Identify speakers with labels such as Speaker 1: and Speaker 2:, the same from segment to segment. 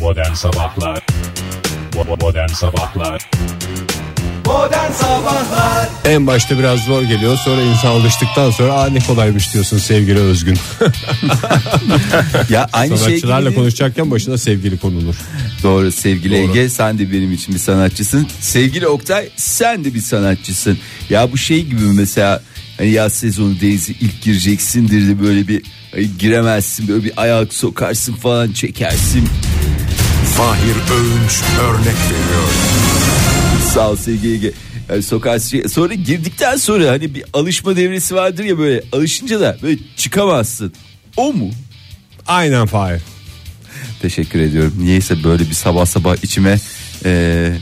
Speaker 1: Modern Sabahlar Bo- Modern Sabahlar
Speaker 2: Modern Sabahlar
Speaker 3: En başta biraz zor geliyor sonra insan alıştıktan sonra aa ne kolaymış diyorsun sevgili Özgün.
Speaker 4: Ya aynı şey gibi
Speaker 3: Sanatçılarla
Speaker 4: değil.
Speaker 3: konuşacakken başına sevgili konulur.
Speaker 4: Doğru sevgili
Speaker 3: Doğru.
Speaker 4: Ege sen de benim için bir sanatçısın. Sevgili Oktay sen de bir sanatçısın. Ya bu şey gibi mesela hani yaz sezonu denizi ilk gireceksindir de böyle bir ay, giremezsin böyle bir ayak sokarsın falan çekersin.
Speaker 5: Fahir Öğünç örnek veriyor.
Speaker 4: Sağ ol sevgili Ege. Yani sokarsın şey- sonra girdikten sonra hani bir alışma devresi vardır ya böyle alışınca da böyle çıkamazsın. O mu?
Speaker 3: Aynen Fahir.
Speaker 4: Teşekkür ediyorum. Niyeyse böyle bir sabah sabah içime eee,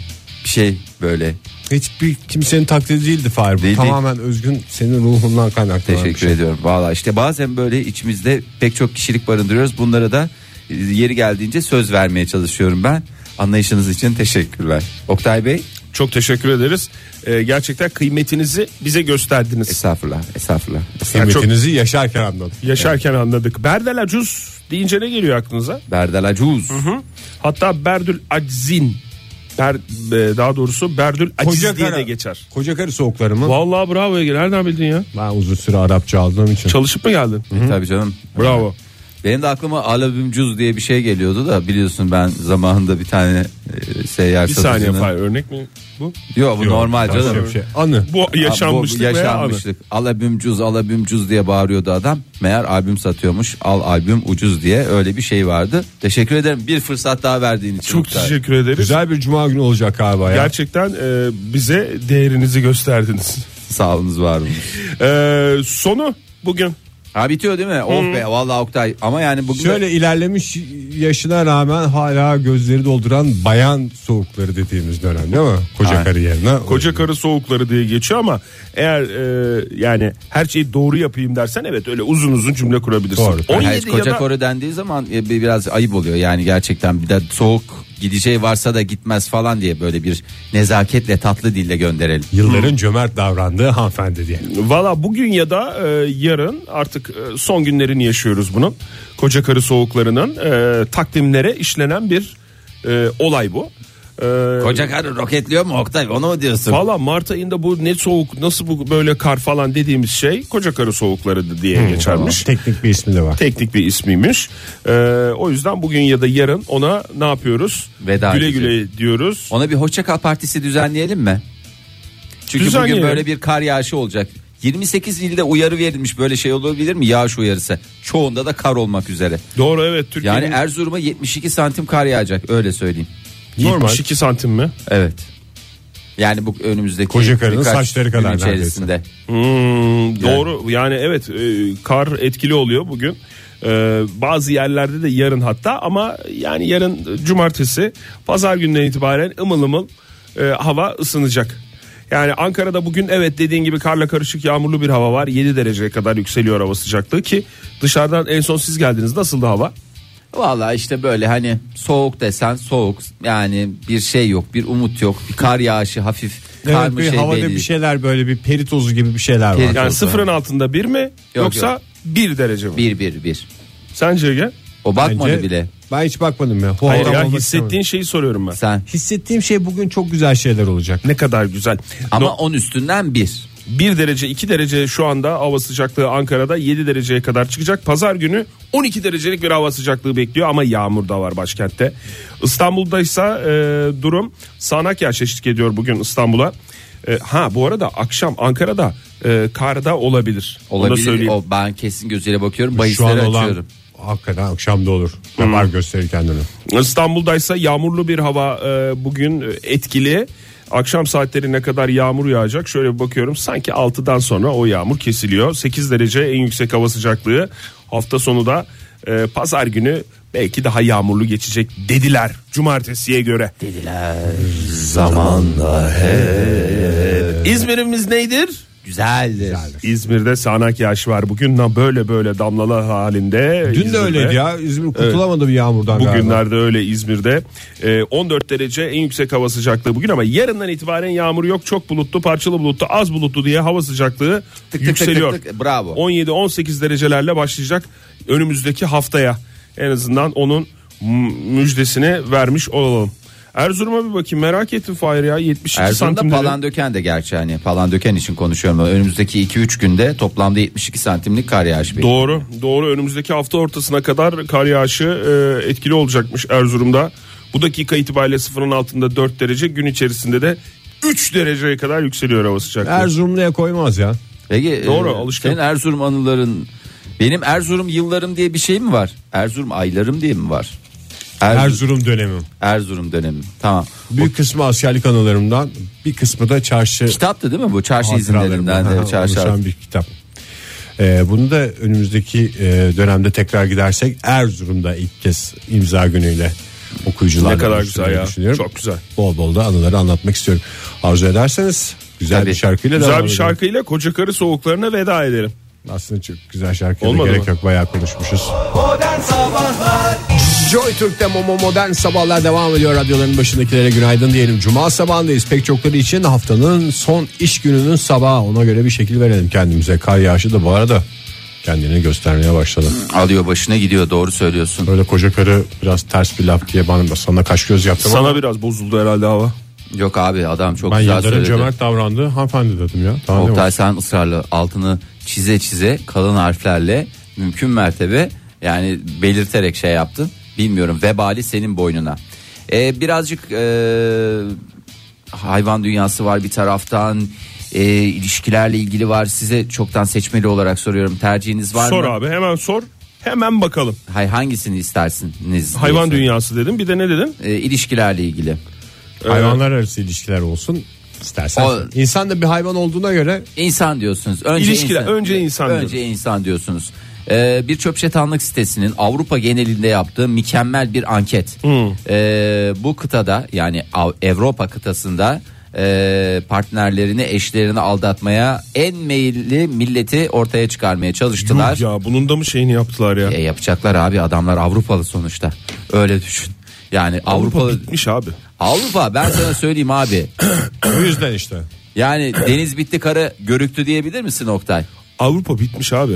Speaker 4: bir şey böyle
Speaker 3: Hiçbir kimsenin taklidi değildi Fahir. Bu
Speaker 4: Değil,
Speaker 3: tamamen Özgün senin ruhundan kaynaklanan bir
Speaker 4: Teşekkür
Speaker 3: şey.
Speaker 4: ediyorum. Valla işte bazen böyle içimizde pek çok kişilik barındırıyoruz. Bunlara da e, yeri geldiğince söz vermeye çalışıyorum ben. Anlayışınız için teşekkürler. Oktay Bey
Speaker 6: Çok teşekkür ederiz. Ee, gerçekten kıymetinizi bize gösterdiniz.
Speaker 4: estağfurullah estağfurullah.
Speaker 3: Kıymetinizi yaşarken anladım.
Speaker 6: Yaşarken anladık. Berdel Acuz deyince ne geliyor aklınıza?
Speaker 4: Berdel Acuz.
Speaker 6: Hı? Hatta Berdül Aczin. Ber, e, daha doğrusu Berdül Aciz diye de geçer.
Speaker 3: Koca karı soğukları mı?
Speaker 6: Vallahi bravo Ege nereden bildin ya?
Speaker 3: Ben uzun süre Arapça aldığım için.
Speaker 6: Çalışıp mı geldin?
Speaker 4: E, Tabii canım.
Speaker 6: Bravo.
Speaker 4: Benim de aklıma Alabimcuz diye bir şey geliyordu da biliyorsun ben zamanında bir tane e, seyyar
Speaker 6: Bir saniye
Speaker 4: satıcının-
Speaker 6: Fahir örnek mi bu?
Speaker 4: Yok bu normal
Speaker 3: Başka
Speaker 4: canım.
Speaker 3: bir şey. Anı.
Speaker 6: Bu yaşanmışlık,
Speaker 4: Bu
Speaker 6: veya anı.
Speaker 4: yaşanmışlık. Al albüm cüz al albüm cüz diye bağırıyordu adam. Meğer albüm satıyormuş. Al albüm ucuz diye öyle bir şey vardı. Teşekkür ederim. Bir fırsat daha verdiğin için.
Speaker 6: Çok
Speaker 4: Oktay.
Speaker 6: teşekkür ederiz.
Speaker 3: Güzel bir cuma günü olacak galiba ya.
Speaker 6: Gerçekten e, bize değerinizi gösterdiniz.
Speaker 4: Sağolunuz var olun.
Speaker 6: E, sonu bugün.
Speaker 4: Ha bitiyor değil mi? Oh be vallahi Oktay. Ama yani bugün de-
Speaker 3: Şöyle ilerlemiş yaşına rağmen hala gözleri dolduran bayan soğukları dediğimiz dönem değil mi? Koca
Speaker 4: Aynen.
Speaker 3: karı yerine.
Speaker 6: Koca karı soğukları diye geçiyor ama eğer e, yani her şeyi doğru yapayım dersen evet öyle uzun uzun cümle kurabilirsin.
Speaker 3: Doğru.
Speaker 6: 17
Speaker 4: Hayır,
Speaker 6: ya
Speaker 4: hani koca
Speaker 6: da
Speaker 4: koru dendiği zaman e, bir- biraz ayıp oluyor yani gerçekten bir de soğuk gideceği varsa da gitmez falan diye böyle bir nezaketle tatlı dille gönderelim.
Speaker 3: Yılların cömert davrandığı hanımefendi diye.
Speaker 6: valla bugün ya da e, yarın artık e, son günlerini yaşıyoruz bunun. Koca karı soğuklarının e, takvimlere işlenen bir e, olay bu. E,
Speaker 4: Koca karı roketliyor mu Oktay onu mu diyorsun?
Speaker 6: Valla Mart ayında bu ne soğuk nasıl bu böyle kar falan dediğimiz şey koca karı soğukları diye geçermiş.
Speaker 3: Teknik bir ismi de var.
Speaker 6: Teknik bir ismiymiş. Ee, o yüzden bugün ya da yarın ona ne yapıyoruz?
Speaker 4: Veda
Speaker 6: güle
Speaker 4: edeceğiz.
Speaker 6: güle diyoruz.
Speaker 4: Ona bir hoşça kal partisi düzenleyelim mi? Çünkü
Speaker 6: Düzenleyelim.
Speaker 4: bugün böyle bir kar yağışı olacak. 28 ilde uyarı verilmiş böyle şey olabilir mi? Yağış uyarısı. Çoğunda da kar olmak üzere.
Speaker 6: Doğru evet Türkiye'nin
Speaker 4: Yani er- Erzurum'a 72 santim kar yağacak öyle söyleyeyim.
Speaker 6: 72 santim mi?
Speaker 4: Evet. Yani bu önümüzdeki
Speaker 3: Koca karının
Speaker 4: birkaç
Speaker 3: saçları
Speaker 4: gün
Speaker 3: kadar
Speaker 4: içerisinde.
Speaker 6: Hmm, doğru yani evet e, kar etkili oluyor bugün. Ee, bazı yerlerde de yarın hatta ama yani yarın cumartesi pazar günden itibaren ımıl ımıl e, hava ısınacak. Yani Ankara'da bugün evet dediğin gibi karla karışık yağmurlu bir hava var. 7 dereceye kadar yükseliyor hava sıcaklığı ki dışarıdan en son siz geldiniz. Nasıldı hava?
Speaker 4: Valla işte böyle hani soğuk desen soğuk yani bir şey yok bir umut yok bir kar yağışı hafif kar
Speaker 3: Evet,
Speaker 4: mı
Speaker 3: bir
Speaker 4: şey
Speaker 3: havada
Speaker 4: belli
Speaker 3: bir
Speaker 4: değil.
Speaker 3: şeyler böyle bir peri tozu gibi bir şeyler
Speaker 4: Peri-
Speaker 3: var.
Speaker 6: Yani
Speaker 4: Çok
Speaker 6: sıfırın altında bir mi yoksa
Speaker 4: yok.
Speaker 6: bir derece mi?
Speaker 4: Bir bir bir.
Speaker 6: Sence Ege?
Speaker 4: O bakmadı
Speaker 3: Bence-
Speaker 4: bile.
Speaker 3: Ben hiç bakmadım ya.
Speaker 6: Hayır ya
Speaker 3: Horlamak
Speaker 6: hissettiğin
Speaker 3: istemedim.
Speaker 6: şeyi soruyorum ben.
Speaker 4: Sen
Speaker 3: hissettiğim şey bugün çok güzel şeyler olacak.
Speaker 6: Ne kadar güzel.
Speaker 4: Ama
Speaker 6: No-
Speaker 4: on üstünden bir.
Speaker 6: 1 derece 2 derece şu anda hava sıcaklığı Ankara'da 7 dereceye kadar çıkacak. Pazar günü 12 derecelik bir hava sıcaklığı bekliyor ama yağmur da var başkentte. İstanbul'da ise e, durum sağanak yağış eşlik ediyor bugün İstanbul'a. E, ha bu arada akşam Ankara'da e, karda olabilir. Onu da
Speaker 4: Olabilir.
Speaker 6: söyleyeyim.
Speaker 4: O ben kesin gözüyle bakıyorum.
Speaker 3: Şu an
Speaker 4: Bahislere
Speaker 3: olan
Speaker 4: açıyorum.
Speaker 3: hakikaten akşamda olur.
Speaker 6: Hmm.
Speaker 3: Yapar gösterir kendini.
Speaker 6: İstanbul'daysa yağmurlu bir hava e, bugün e, etkili. Akşam saatlerine kadar yağmur yağacak. Şöyle bir bakıyorum sanki 6'dan sonra o yağmur kesiliyor. 8 derece en yüksek hava sıcaklığı. Hafta sonu da e, pazar günü belki daha yağmurlu geçecek dediler. Cumartesiye göre.
Speaker 4: Zamanla
Speaker 6: İzmir'imiz nedir?
Speaker 4: güzeldir.
Speaker 6: İzmir'de sağanak yağış var. Bugün de böyle böyle damlalar halinde.
Speaker 3: Dün de
Speaker 6: İzmir'de.
Speaker 3: öyleydi ya. İzmir kurtulamadı bir yağmurdan galiba.
Speaker 6: Bugünlerde öyle İzmir'de Ee, 14 derece en yüksek hava sıcaklığı bugün ama yarından itibaren yağmur yok çok bulutlu parçalı bulutlu az bulutlu diye hava sıcaklığı
Speaker 4: tık tık
Speaker 6: yükseliyor.
Speaker 4: tık tık, bravo.
Speaker 6: 17-18 derecelerle başlayacak önümüzdeki haftaya en azından onun m- müjdesini vermiş olalım. Erzurum'a bir bakayım merak ettim Fahir ya 72
Speaker 4: Erzurum'da
Speaker 6: santim.
Speaker 4: palandöken de gerçi hani palandöken için konuşuyorum. Önümüzdeki 2-3 günde toplamda 72 santimlik kar yağışı bekliyor.
Speaker 6: Doğru doğru önümüzdeki hafta ortasına kadar kar yağışı e, etkili olacakmış Erzurum'da. Bu dakika itibariyle sıfırın altında 4 derece gün içerisinde de 3 dereceye kadar yükseliyor hava sıcaklığı.
Speaker 3: Erzurumlu'ya koymaz ya.
Speaker 4: Peki,
Speaker 6: Doğru,
Speaker 4: e,
Speaker 6: alışkın.
Speaker 4: Senin Erzurum anıların benim Erzurum yıllarım diye bir şey mi var? Erzurum aylarım diye mi var? Erzurum,
Speaker 3: Erzurum dönemi.
Speaker 4: Erzurum dönemi. Tamam.
Speaker 3: Büyük kısmı askerlik anılarımdan bir kısmı da çarşı
Speaker 4: Kitaptı değil mi bu? Çarşı izinlerinden
Speaker 3: hatıralarımdan
Speaker 4: de çarşı.
Speaker 3: oluşan bir kitap. Ee, bunu da önümüzdeki e, dönemde tekrar gidersek Erzurum'da ilk kez imza günüyle okuyucularla
Speaker 6: Ne kadar
Speaker 3: buluşturmayı
Speaker 6: güzel ya.
Speaker 3: düşünüyorum.
Speaker 6: Çok güzel.
Speaker 3: Bol bol da anıları anlatmak istiyorum. Arzu ederseniz güzel
Speaker 4: Tabii.
Speaker 3: bir şarkıyla
Speaker 6: Güzel
Speaker 3: devam
Speaker 6: bir
Speaker 3: edelim.
Speaker 6: şarkıyla koca karı soğuklarına veda edelim.
Speaker 3: Aslında çok güzel şarkıya da
Speaker 6: Olmadı
Speaker 3: gerek
Speaker 6: mı?
Speaker 3: yok bayağı konuşmuşuz.
Speaker 7: Modern Sabahlar
Speaker 3: Joy Türk'te Momo Modern Sabahlar devam ediyor. Radyoların başındakilere günaydın diyelim. Cuma sabahındayız. Pek çokları için haftanın son iş gününün sabahı. Ona göre bir şekil verelim kendimize. Kar yağışı da bu arada kendini göstermeye başladı.
Speaker 4: Alıyor başına gidiyor doğru söylüyorsun.
Speaker 3: Böyle koca karı biraz ters bir laf diye bana sana kaş göz yaptım ama
Speaker 6: Sana biraz bozuldu herhalde hava.
Speaker 4: Yok abi adam çok
Speaker 3: ben
Speaker 4: güzel
Speaker 3: Yıldar'ın
Speaker 4: söyledi.
Speaker 3: cömert davrandı. Hanımefendi dedim ya. Tamam değil mi?
Speaker 4: Oktay sen ısrarlı altını çize çize kalın harflerle mümkün mertebe yani belirterek şey yaptın. Bilmiyorum vebali senin boynuna. Ee, birazcık ee, hayvan dünyası var bir taraftan. ee, ilişkilerle ilgili var size çoktan seçmeli olarak soruyorum tercihiniz var
Speaker 6: Sor
Speaker 4: mı?
Speaker 6: abi hemen sor. Hemen bakalım.
Speaker 4: Hay hangisini istersiniz? diye
Speaker 6: Hayvan
Speaker 4: sor-
Speaker 6: dünyası dedim. Bir de ne dedin?
Speaker 4: Ee, ilişkilerle ilgili.
Speaker 3: Hayvanlar arası ilişkiler olsun istersen.
Speaker 4: O-
Speaker 3: İnsan da bir hayvan olduğuna göre
Speaker 4: İnsan diyorsunuz. Önce
Speaker 6: İlişkiler, önce insan
Speaker 4: Önce insan diyorsunuz. Ee, bir çöp şeytanlık sitesinin Avrupa genelinde yaptığı mükemmel bir anket. Ee, bu kıtada yani Av- Avrupa kıtasında e, partnerlerini, eşlerini aldatmaya en meyilli milleti ortaya çıkarmaya çalıştılar.
Speaker 6: Yuh ya bunun da mı şeyini yaptılar ya?
Speaker 4: E, yapacaklar abi adamlar Avrupalı sonuçta. Öyle düşün. Yani
Speaker 6: Avrupa
Speaker 4: Avrupalı
Speaker 6: bitmiş abi.
Speaker 4: Avrupa ben sana söyleyeyim abi.
Speaker 3: bu yüzden işte.
Speaker 4: Yani deniz bitti kara görüktü diyebilir misin Oktay?
Speaker 6: Avrupa bitmiş abi.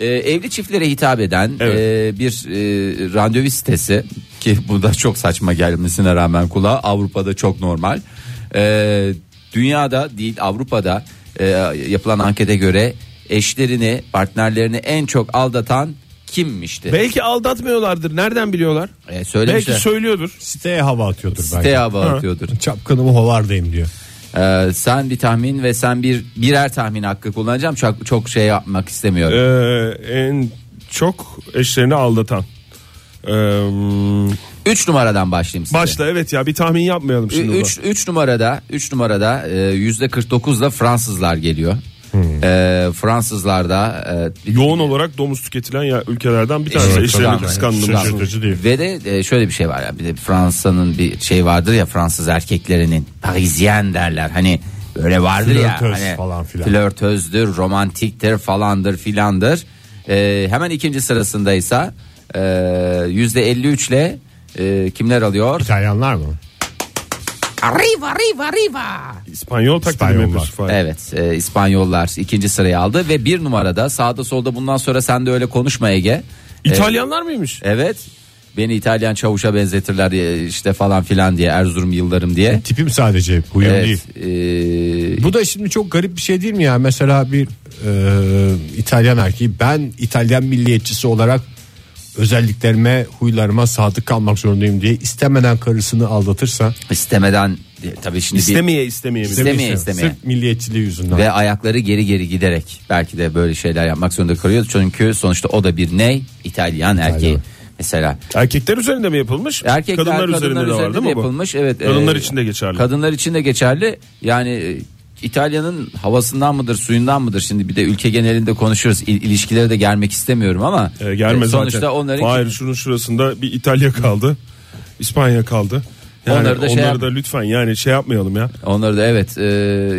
Speaker 4: Ee, evli çiftlere hitap eden
Speaker 6: Evet.
Speaker 4: e, bir e, randevu sitesi ki bu da çok saçma gelmesine rağmen kulağa Avrupa'da çok normal. Ee, dünyada değil Avrupa'da e, yapılan ankete göre eşlerini partnerlerini en çok aldatan kimmişti?
Speaker 6: Belki aldatmıyorlardır. Nereden biliyorlar?
Speaker 4: Ee,
Speaker 6: Belki
Speaker 4: söylemişler.
Speaker 6: söylüyordur.
Speaker 3: Siteye hava atıyordur
Speaker 4: siteye
Speaker 3: belki.
Speaker 4: hava atıyordur.
Speaker 3: Çapkınımı hovardayım diyor.
Speaker 4: Ee, sen bir tahmin ve sen bir birer tahmin hakkı kullanacağım. Çok çok şey yapmak istemiyorum.
Speaker 6: Ee, en çok eşlerini aldatan. Ee,
Speaker 4: 3 numaradan başlayayım size.
Speaker 6: başla evet ya bir tahmin yapmayalım şimdi.
Speaker 4: 3 3 numarada 3 numarada e, yüzde 49'la Fransızlar geliyor.
Speaker 3: Hmm.
Speaker 4: E, Fransızlarda e,
Speaker 6: Yoğun olarak domuz tüketilen ya, ülkelerden bir tanesi.
Speaker 4: Evet, hani
Speaker 6: eşlerini
Speaker 4: tamam.
Speaker 6: kıskandım.
Speaker 4: Tamam. Ve de e, şöyle bir şey var ya bir de Fransa'nın bir şey vardır ya Fransız erkeklerinin Parisien derler hani böyle vardır ya
Speaker 3: Flörtöz
Speaker 4: hani
Speaker 3: falan filan.
Speaker 4: flörtözdür romantiktir falandır filandır E, hemen ikinci sırasındaysa yüzde 53 ile e, kimler alıyor?
Speaker 3: İtalyanlar mı?
Speaker 4: Arriva arriva arriva.
Speaker 6: İspanyol taklidi mi
Speaker 3: İspanyollar.
Speaker 6: yapıyorsun Fahir?
Speaker 4: Evet e, İspanyollar ikinci sırayı aldı ve bir numarada sağda solda bundan sonra sen de öyle konuşma Ege. E,
Speaker 6: İtalyanlar mıymış?
Speaker 4: evet beni İtalyan çavuşa benzetirler e, işte falan filan diye Erzurum yıllarım diye.
Speaker 3: Tipim sadece huyum değil.
Speaker 4: Evet, e,
Speaker 3: Bu da şimdi çok garip bir şey değil mi ya? Mesela bir e, İtalyan erkeği ben İtalyan milliyetçisi olarak özelliklerime, huylarıma sadık kalmak zorundayım diye istemeden karısını aldatırsa
Speaker 4: istemeden e, tabii şimdi bir-
Speaker 6: İstemeye istemeye. mi?
Speaker 4: İstemeye
Speaker 3: demişsin,
Speaker 4: istemeye.
Speaker 3: sırf milliyetçiliği yüzünden.
Speaker 4: ve ayakları geri geri giderek belki de böyle şeyler yapmak zorunda kalıyor. Çünkü sonuçta o da bir ney İtalyan erkeği. Mesela
Speaker 6: Erkekler üzerinde mi yapılmış?
Speaker 4: Erkekler
Speaker 6: kadınlar,
Speaker 4: kadınlar,
Speaker 6: üzerinde de var
Speaker 4: üzerinde
Speaker 6: değil
Speaker 4: de
Speaker 6: mi bu?
Speaker 4: yapılmış. Evet.
Speaker 6: Kadınlar
Speaker 4: e,
Speaker 6: için de geçerli.
Speaker 4: Kadınlar için de geçerli. Yani e, İtalya'nın havasından mıdır, suyundan mıdır? Şimdi bir de ülke genelinde konuşuyoruz. İl- İlişkilere de gelmek istemiyorum ama
Speaker 6: E, gelme
Speaker 4: e,
Speaker 6: zaten.
Speaker 4: sonuçta onların
Speaker 6: Hayır şunun şurasında bir İtalya kaldı. İspanya kaldı. Yani
Speaker 4: Onları
Speaker 6: onları
Speaker 4: da
Speaker 6: da,
Speaker 4: şey yap-
Speaker 6: lütfen yani şey yapmayalım ya.
Speaker 4: onları da evet e,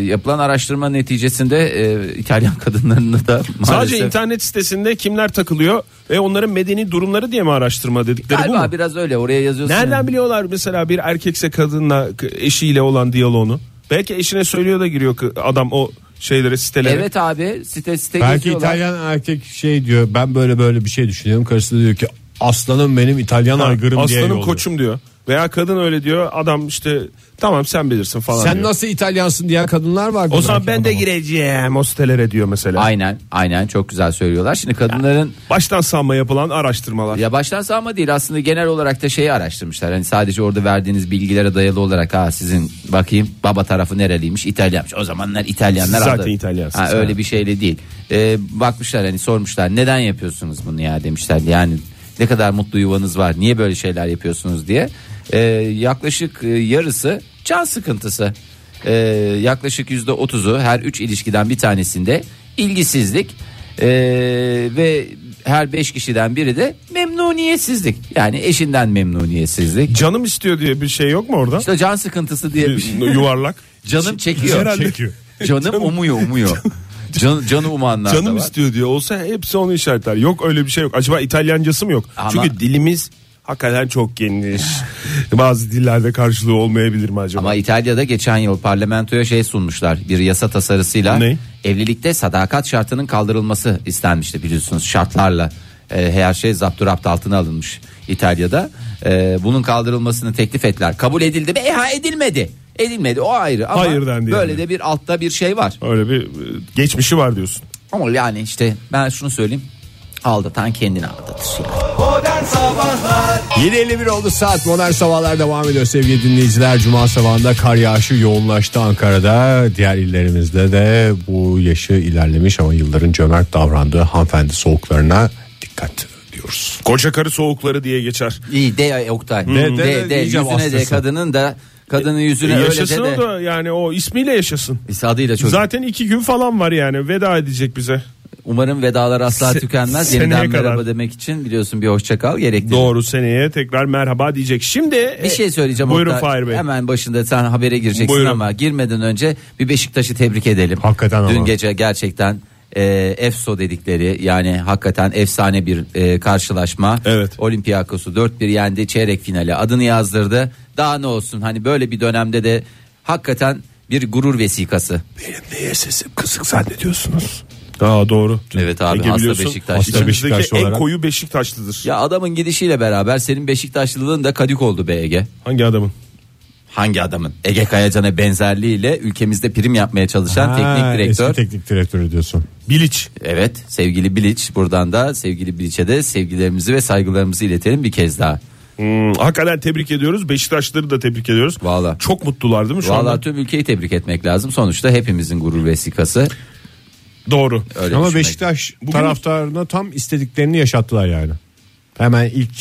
Speaker 4: yapılan araştırma neticesinde e, İtalyan kadınlarını da maalesef
Speaker 6: Sadece internet sitesinde kimler takılıyor ve onların medeni durumları diye mi araştırma dedikleri bu mu?
Speaker 4: galiba biraz öyle oraya yazıyorsun.
Speaker 6: Nereden
Speaker 4: yani.
Speaker 6: biliyorlar mesela bir erkekse kadınla k- eşiyle olan diyaloğunu? Belki eşine söylüyor da giriyor k- adam o şeylere sitelere.
Speaker 4: Evet abi site site
Speaker 3: Belki
Speaker 4: geziyorlar.
Speaker 3: İtalyan erkek şey diyor ben böyle böyle bir şey düşünüyorum. Karısı da diyor ki aslanım benim İtalyan aygırım diye
Speaker 6: Aslanım
Speaker 3: yolluyor.
Speaker 6: koçum diyor. Veya kadın öyle diyor. Adam işte tamam sen bilirsin falan
Speaker 3: Sen
Speaker 6: diyor.
Speaker 3: nasıl İtalyansın diyen kadınlar var.
Speaker 6: O zaman ben de gireceğim hostelere diyor mesela.
Speaker 4: Aynen aynen çok güzel söylüyorlar. Şimdi kadınların
Speaker 6: Baştan sanma yapılan araştırmalar.
Speaker 4: Ya baştan sağma değil aslında genel olarak da şeyi araştırmışlar. Hani sadece orada verdiğiniz bilgilere dayalı olarak ha sizin bakayım baba tarafı nereliymiş İtalyanmış. O zamanlar İtalyanlar
Speaker 6: Siz zaten
Speaker 4: aldı.
Speaker 6: İtalyansınız,
Speaker 4: Ha, öyle bir şeyle değil. Ee, bakmışlar hani sormuşlar neden yapıyorsunuz bunu ya demişler. Yani ne kadar mutlu yuvanız var niye böyle şeyler yapıyorsunuz diye. Ee, yaklaşık e, yarısı can sıkıntısı. Ee, yaklaşık yüzde otuzu her üç ilişkiden bir tanesinde ilgisizlik. Ee, ve her beş kişiden biri de memnuniyetsizlik. Yani eşinden memnuniyetsizlik.
Speaker 6: Canım istiyor diye bir şey yok mu orada?
Speaker 4: İşte can sıkıntısı diye bir şey.
Speaker 6: Yuvarlak.
Speaker 4: Canım çekiyor.
Speaker 3: Çekiyor.
Speaker 4: Canım umuyor umuyor. Can, canı umanlar da
Speaker 6: Canım
Speaker 4: var.
Speaker 6: istiyor diyor olsa hepsi onu işaretler. Yok öyle bir şey yok. Acaba İtalyancası mı yok?
Speaker 4: Ama-
Speaker 6: Çünkü dilimiz hakikaten çok geniş. Bazı dillerde karşılığı olmayabilir mi acaba?
Speaker 4: Ama İtalya'da geçen yıl parlamentoya şey sunmuşlar bir yasa tasarısıyla
Speaker 6: Ne?
Speaker 4: evlilikte sadakat şartının kaldırılması istenmişti biliyorsunuz şartlarla e, her şey zapturapt altına alınmış İtalya'da E, bunun kaldırılmasını teklif ettiler kabul edildi mi? E, ha edilmedi edilmedi o ayrı ama
Speaker 6: Hayır dendi
Speaker 4: böyle
Speaker 6: yani.
Speaker 4: de bir altta bir şey var
Speaker 6: Öyle bir e, geçmişi var diyorsun.
Speaker 4: ama yani işte ben şunu söyleyeyim aldatan kendini aldatır.
Speaker 2: Modern Sabahlar
Speaker 3: 7.51 oldu saat modern sabahlar devam ediyor sevgili dinleyiciler. Cuma sabahında kar yağışı yoğunlaştı Ankara'da. Diğer illerimizde de bu yaşı ilerlemiş ama yılların cömert davrandığı hanımefendi soğuklarına dikkat diyoruz.
Speaker 6: Koca karı soğukları diye geçer.
Speaker 4: İyi de Oktay
Speaker 3: de-
Speaker 4: de, de,
Speaker 3: de
Speaker 4: yüzüne
Speaker 3: diyeceğim
Speaker 4: de
Speaker 3: hastası.
Speaker 4: kadının da kadının
Speaker 6: E,
Speaker 4: yüzüne öyle
Speaker 6: yaşasın
Speaker 4: de
Speaker 6: o
Speaker 4: de.
Speaker 6: da yani o ismiyle yaşasın.
Speaker 4: Adıyla çocuk.
Speaker 6: Zaten iki gün falan var yani veda edecek bize.
Speaker 4: Umarım vedalar asla
Speaker 6: Se-
Speaker 4: tükenmez.
Speaker 6: seneye
Speaker 4: Yeniden merhaba
Speaker 6: kadar.
Speaker 4: demek için biliyorsun bir hoşça kal gerekli.
Speaker 6: Doğru seneye tekrar merhaba diyecek. Şimdi e,
Speaker 4: Bir şey söyleyeceğim.
Speaker 6: Buyurun
Speaker 4: Oktay.
Speaker 6: Fahir Bey.
Speaker 4: Hemen başında sen habere gireceksin
Speaker 6: Buyurun.
Speaker 4: ama girmeden önce bir Beşiktaş'ı tebrik edelim.
Speaker 3: Hakikaten
Speaker 4: Dün
Speaker 3: ama.
Speaker 4: gece gerçekten e, EFSO dedikleri yani hakikaten efsane bir e, karşılaşma.
Speaker 6: Evet.
Speaker 4: Olympiakos'u 4-1 yendi çeyrek finale adını yazdırdı. Daha ne olsun hani böyle bir dönemde de hakikaten bir gurur vesikası.
Speaker 6: Neye sesim kısık zannediyorsunuz? Aa doğru.
Speaker 4: Evet abi, hasta Beşiktaşlı.
Speaker 6: Hasta
Speaker 3: Hasta
Speaker 6: içimizdeki
Speaker 3: Beşiktaşlı
Speaker 6: en
Speaker 3: olarak.
Speaker 6: koyu Beşiktaşlıdır.
Speaker 4: Ya adamın gidişiyle beraber senin Beşiktaşlılığın da kadık oldu be Ege.
Speaker 6: Hangi adamın?
Speaker 4: hangi adamın Ege Kayacan'a benzerliğiyle ülkemizde prim yapmaya çalışan
Speaker 3: Ha,
Speaker 4: teknik direktör.
Speaker 3: Eski teknik direktörü diyorsun.
Speaker 6: Biliç.
Speaker 4: evet sevgili Biliç buradan da sevgili Biliç'e de sevgilerimizi ve saygılarımızı iletelim bir kez daha.
Speaker 6: Hmm, hakikaten tebrik ediyoruz. Beşiktaşlıları da tebrik ediyoruz.
Speaker 4: Vallahi.
Speaker 6: Çok mutlular değil mi şu
Speaker 4: Vallahi
Speaker 6: anda?
Speaker 4: tüm ülkeyi tebrik etmek lazım. Sonuçta hepimizin gurur vesikası.
Speaker 6: Doğru.
Speaker 4: Öyle
Speaker 3: ama
Speaker 4: düşünmek.
Speaker 3: Beşiktaş taraftarına tam istediklerini yaşattılar yani. Hemen ilk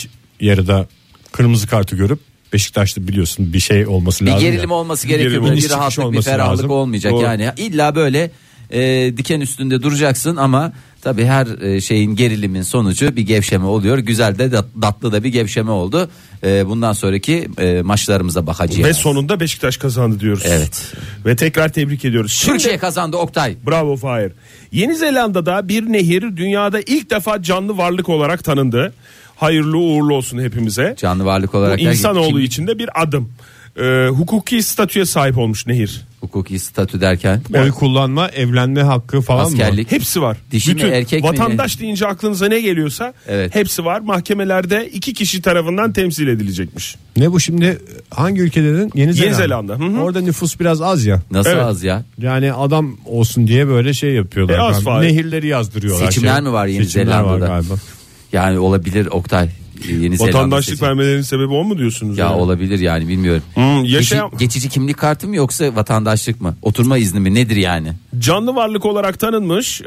Speaker 3: yarıda kırmızı kartı görüp Beşiktaşlı biliyorsun bir şey olması
Speaker 4: bir
Speaker 3: lazım.
Speaker 4: gerilim
Speaker 3: ya.
Speaker 4: olması gerekiyor.
Speaker 3: gerilim
Speaker 4: Böyle Bir
Speaker 3: olması,
Speaker 4: rahatlık, bir
Speaker 3: olması
Speaker 4: ferahlık
Speaker 3: lazım.
Speaker 4: olmayacak
Speaker 3: Doğru.
Speaker 4: yani. İlla böyle e, diken üstünde duracaksın ama tabii her e, şeyin gerilimin sonucu bir gevşeme oluyor. Güzel de dat- tatlı da bir gevşeme oldu. E, bundan sonraki e, maçlarımıza bakacağız.
Speaker 6: Ve sonunda Beşiktaş kazandı diyoruz.
Speaker 4: Evet.
Speaker 6: Ve tekrar tebrik ediyoruz. Şimdi
Speaker 4: Türkiye kazandı Oktay.
Speaker 6: Bravo Fahir. Yeni Zelanda'da bir nehir dünyada ilk defa canlı varlık olarak tanındı. Hayırlı uğurlu olsun hepimize.
Speaker 4: Canlı varlık
Speaker 6: Bu
Speaker 4: olarak derken
Speaker 6: insanoğlu
Speaker 4: kim-
Speaker 6: için de bir adım. Ee, hukuki statüye sahip olmuş nehir.
Speaker 4: hukuki statü derken
Speaker 3: Oy kullanma, evlenme hakkı falan mı?
Speaker 4: askerlik
Speaker 6: Hepsi var.
Speaker 4: Dişi mi, erkek mi?
Speaker 6: vatandaş deyince aklınıza ne geliyorsa
Speaker 4: Evet.
Speaker 6: hepsi var. Mahkemelerde iki kişi tarafından temsil edilecekmiş.
Speaker 3: Ne bu şimdi hangi ülke dedin? Yeni Zelanda.
Speaker 6: Zelanda, hı hı.
Speaker 3: Orada nüfus biraz az ya.
Speaker 4: nasıl
Speaker 6: Evet.
Speaker 4: az ya?
Speaker 3: Yani adam olsun diye böyle şey yapıyorlar.
Speaker 6: E, az
Speaker 3: Yani
Speaker 6: faiz.
Speaker 3: Nehirleri yazdırıyorlar.
Speaker 4: Seçimler
Speaker 3: şey.
Speaker 4: mi var Yeni
Speaker 3: Seçimler
Speaker 4: Zelanda'da?
Speaker 3: Var galiba.
Speaker 4: Yani olabilir Oktay. e, Yeni Zelanda
Speaker 6: Vatandaşlık
Speaker 4: seçim-
Speaker 6: vermelerinin sebebi o mu diyorsunuz?
Speaker 4: Ya
Speaker 6: yani?
Speaker 4: olabilir yani bilmiyorum.
Speaker 6: Hmm, yaşayan-
Speaker 4: Geçi- geçici kimlik kartı mı yoksa vatandaşlık mı? Oturma izni mi nedir yani?
Speaker 6: Canlı varlık olarak tanınmış e,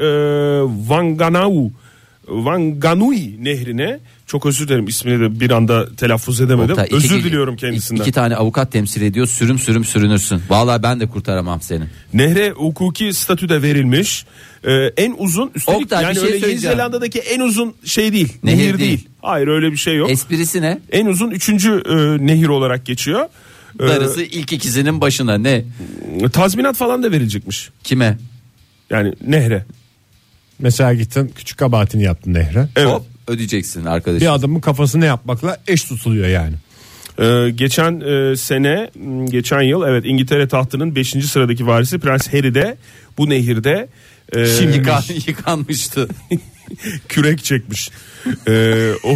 Speaker 6: Wanganau Wanganui nehrine çok özür dilerim ismini de bir anda telaffuz edemedim.
Speaker 4: Oktay, iki-
Speaker 6: özür
Speaker 4: iki-
Speaker 6: diliyorum kendisinden.
Speaker 4: İki tane avukat temsil ediyor sürüm sürüm sürünürsün. Vallahi ben de kurtaramam seni.
Speaker 6: Nehre hukuki statü de verilmiş. E, en uzun üstelik
Speaker 4: Oktay, bir
Speaker 6: yani
Speaker 4: şey
Speaker 6: öyle Yeni
Speaker 4: söyleyeceğim.
Speaker 6: Zelanda'daki en uzun şey değil.
Speaker 4: Nehir
Speaker 6: Nehir,
Speaker 4: değil.
Speaker 6: değil. Hayır öyle bir şey yok.
Speaker 4: Esprisi ne?
Speaker 6: en uzun üçüncü e, nehir olarak geçiyor. E,
Speaker 4: Darısı ilk ikizinin başına ne?
Speaker 6: tazminat falan da verilecekmiş.
Speaker 4: Kime?
Speaker 6: Yani nehre.
Speaker 3: Mesela gittin küçük kabahatini yaptın nehre.
Speaker 6: Evet.
Speaker 4: Hop ödeyeceksin arkadaşım.
Speaker 3: Bir adamın kafasını yapmakla eş tutuluyor yani.
Speaker 6: Ee, geçen e, sene, m, geçen yıl evet İngiltere tahtının 5. sıradaki varisi Prens Harry de bu nehirde e,
Speaker 4: Yıkan- yıkanmıştı.
Speaker 6: kürek çekmiş. Ee, o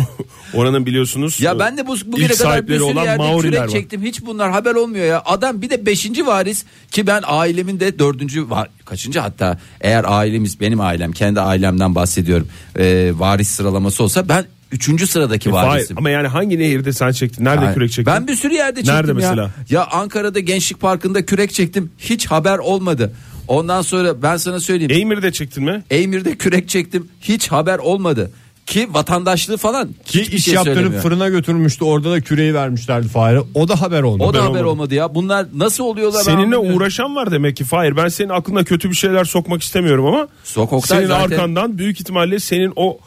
Speaker 6: oranın biliyorsunuz.
Speaker 4: Ya ben de bu bugüne
Speaker 6: ilk
Speaker 4: kadar bir
Speaker 6: sahipleri
Speaker 4: sürü
Speaker 6: olan
Speaker 4: yerde
Speaker 6: Maoriler var.
Speaker 4: kürek çektim. Hiç bunlar haber olmuyor ya. Adam bir de beşinci varis ki ben ailemin de dördüncü var kaçıncı hatta eğer ailemiz benim ailem kendi ailemden bahsediyorum Ee, varis sıralaması olsa ben üçüncü sıradaki
Speaker 6: Hayır,
Speaker 4: varisim.
Speaker 6: E, ama yani hangi nehirde sen çektin? Nerede
Speaker 4: Yani
Speaker 6: kürek çektin?
Speaker 4: Ben bir sürü yerde çektim
Speaker 6: Nerede
Speaker 4: ya.
Speaker 6: mesela?
Speaker 4: Ya Ankara'da Gençlik Parkı'nda kürek çektim. Hiç haber olmadı. Ondan sonra ben sana söyleyeyim.
Speaker 6: Eymir'de çektin mi?
Speaker 4: Eymir'de kürek çektim. Hiç haber olmadı. Ki vatandaşlığı falan
Speaker 3: Ki
Speaker 4: hiçbir
Speaker 3: iş
Speaker 4: şey
Speaker 3: yaptırıp
Speaker 4: söylemiyor.
Speaker 3: fırına götürmüştü. Orada da küreği vermişlerdi fare. O da haber olmadı.
Speaker 4: O da haber
Speaker 6: olmadı.
Speaker 4: olmadı ya. Bunlar nasıl oluyorlar? ben
Speaker 6: Seninle
Speaker 4: anlamıyorum.
Speaker 6: uğraşan var demek ki Fahir. Ben senin aklına kötü bir şeyler sokmak istemiyorum ama
Speaker 4: Sok Oktay
Speaker 6: senin
Speaker 4: zaten.
Speaker 6: arkandan büyük ihtimalle senin o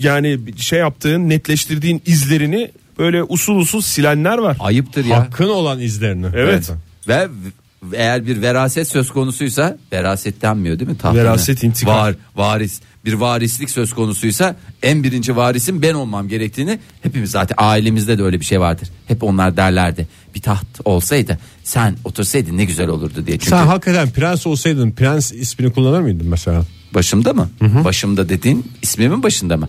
Speaker 6: yani şey yaptığın netleştirdiğin izlerini böyle usul usul silenler var.
Speaker 4: Ayıptır ya.
Speaker 3: Hakkın olan izlerini.
Speaker 6: Evet.
Speaker 4: Ve v- eğer bir veraset söz konusuysa veraset denmiyor değil mi? Tahtını.
Speaker 6: Veraset, intikam.
Speaker 4: Var, varis. Bir varislik söz konusuysa en birinci varisin ben olmam gerektiğini hepimiz zaten ailemizde de öyle bir şey vardır. Hep onlar derlerdi. Bir taht olsaydı sen otursaydın ne güzel olurdu diye. Çünkü
Speaker 3: Sen hakikaten prens olsaydın prens ismini kullanır mıydın mesela?
Speaker 4: başımda mı? Başımda dediğin ismimin başında mı?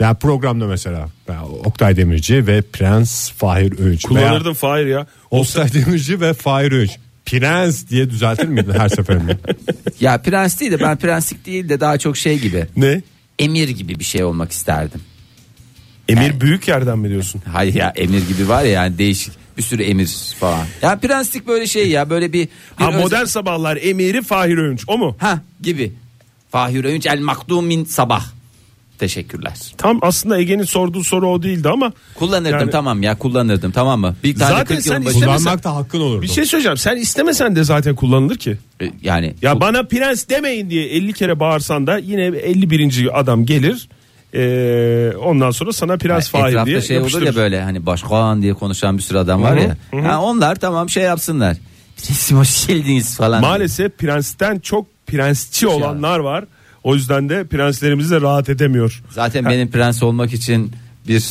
Speaker 3: Yani programda mesela yani Oktay Demirci ve Prens Fahir Öğünç.
Speaker 6: Kullanırdım
Speaker 3: Veya
Speaker 6: Fahir ya.
Speaker 3: Oktay Demirci ve Fahir Öğünç. Prens diye düzeltir miydin her seferinde?
Speaker 6: şey
Speaker 4: Ya prens değil de ben prenslik değil de daha çok şey gibi.
Speaker 6: Ne?
Speaker 4: Emir gibi bir şey olmak isterdim.
Speaker 6: Emir büyük yerden mi diyorsun?
Speaker 4: Hayır ya emir gibi var ya yani değişik bir sürü emir falan. Ya prenslik böyle şey ya böyle bir, bir
Speaker 6: Ha
Speaker 4: öz-
Speaker 6: modern sabahlar Emir'i Fahir Öğünç o mu?
Speaker 4: ha gibi. Fahir Öğünç el makdumin sabah. Teşekkürler.
Speaker 6: Tam aslında Ege'nin sorduğu soru o değildi ama
Speaker 4: Kullanırdım
Speaker 6: Yani-
Speaker 4: tamam ya kullanırdım tamam mı? Bir tane
Speaker 6: Zaten
Speaker 4: 40
Speaker 6: sen
Speaker 4: yılın başı-
Speaker 6: istemesen-
Speaker 3: Kullanmak da hakkın olurdu.
Speaker 6: bir şey söyleyeceğim. Sen istemesen de zaten kullanılır ki.
Speaker 4: E, yani
Speaker 6: Ya
Speaker 4: kul-
Speaker 6: bana prens demeyin diye 50 kere bağırsan da yine 51. adam gelir. Ee, ondan sonra sana prens fahir diye
Speaker 4: etrafta şey olur ya
Speaker 6: yapıştırır.
Speaker 4: böyle hani başkan diye konuşan bir sürü adam var
Speaker 6: Hı hı,
Speaker 4: ya. Ha, onlar tamam şey yapsınlar. Prensim hoş geldiniz falan.
Speaker 6: Maalesef prensten çok prensçi
Speaker 4: şey
Speaker 6: olanlar var. O yüzden de prenslerimiz de rahat edemiyor.
Speaker 4: Zaten benim prens olmak için bir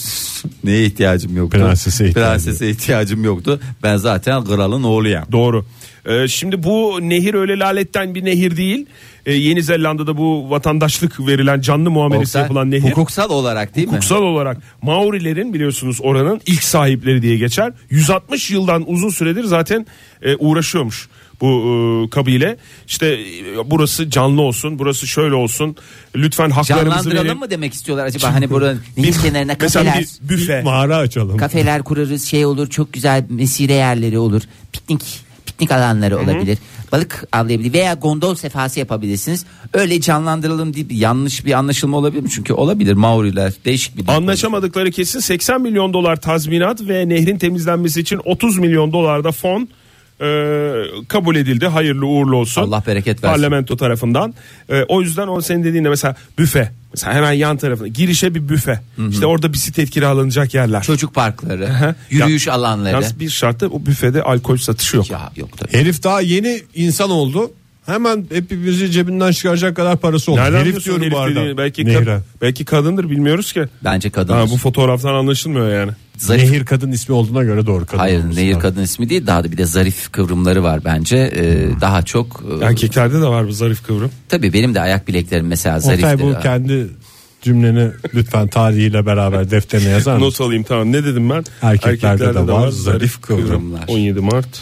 Speaker 4: neye ihtiyacım yoktu?
Speaker 3: Prensese ihtiyacım.
Speaker 4: Prensese ihtiyacım yoktu. Ben zaten kralın oğluyum.
Speaker 6: Doğru. Ee, şimdi bu nehir öyle laletten bir nehir değil. Ee, Yeni Zelanda'da bu vatandaşlık verilen canlı muamelesi
Speaker 4: Oktay,
Speaker 6: yapılan nehir.
Speaker 4: Hukuksal olarak değil mi?
Speaker 6: Hukuksal olarak Maorilerin biliyorsunuz oranın ilk sahipleri diye geçer. 160 yıldan uzun süredir zaten e, uğraşıyormuş bu e, kabile. İşte e, burası canlı olsun, burası şöyle olsun. Lütfen haklarımızı
Speaker 4: Canlandıralım
Speaker 6: verin.
Speaker 4: mı demek istiyorlar acaba hani buranın
Speaker 6: Bir-
Speaker 4: deniz kenarına
Speaker 6: Mesela
Speaker 4: kafeler.
Speaker 6: bir büfe.
Speaker 3: Mağara açalım.
Speaker 4: Kafeler kurarız şey olur çok güzel mesire yerleri olur. Piknik piknik alanları olabilir. Balık avlayabilir veya gondol sefası yapabilirsiniz. Öyle canlandıralım diye bir yanlış bir anlaşılma olabilir mi? Çünkü olabilir Maoriler değişik bir dil
Speaker 6: Anlaşamadıkları kesin 80 milyon dolar tazminat ve nehrin temizlenmesi için 30 milyon dolar da fon e, kabul edildi. Hayırlı uğurlu olsun.
Speaker 4: Allah bereket versin.
Speaker 6: Parlamento tarafından. E, o yüzden o senin dediğinde mesela büfe. Mesela hemen yan tarafına girişe bir büfe. İşte orada bisiklet kiralanacak yerler.
Speaker 4: Çocuk parkları,
Speaker 6: Aha.
Speaker 4: yürüyüş
Speaker 6: Ya-
Speaker 4: alanları.
Speaker 6: Yalnız bir şartı o büfede alkol satışı yok.
Speaker 4: Ya yok tabii.
Speaker 3: Herif daha yeni insan oldu. Hemen hepimizi cebinden çıkaracak kadar parası oldu.
Speaker 6: Nereden
Speaker 3: herif
Speaker 6: biliyorsun
Speaker 3: diyorum bu
Speaker 6: herif
Speaker 3: arada.
Speaker 6: dediğini? Belki, kad-
Speaker 3: Nehre.
Speaker 6: belki kadındır bilmiyoruz ki.
Speaker 4: Bence kadın.
Speaker 6: Ha, bu fotoğraftan anlaşılmıyor yani.
Speaker 4: Zarif
Speaker 3: Nehir kadın ismi olduğuna göre doğru kadın.
Speaker 4: Hayır
Speaker 3: olması
Speaker 4: nehir
Speaker 3: lazım.
Speaker 4: kadın ismi değil daha da bir de zarif kıvrımları var bence
Speaker 3: Hmm.
Speaker 4: Ee, daha çok e,
Speaker 6: Erkeklerde de var bu zarif kıvrım.
Speaker 4: tabii benim de ayak bileklerim mesela
Speaker 3: Oktay
Speaker 4: zariftir.
Speaker 3: bu kendi cümleni lütfen tarihiyle beraber defterine yazar mısın?
Speaker 6: Not alayım tamam. Ne dedim ben?
Speaker 3: Erkeklerde de var, zarif kıvrımlar.
Speaker 6: 17 Mart.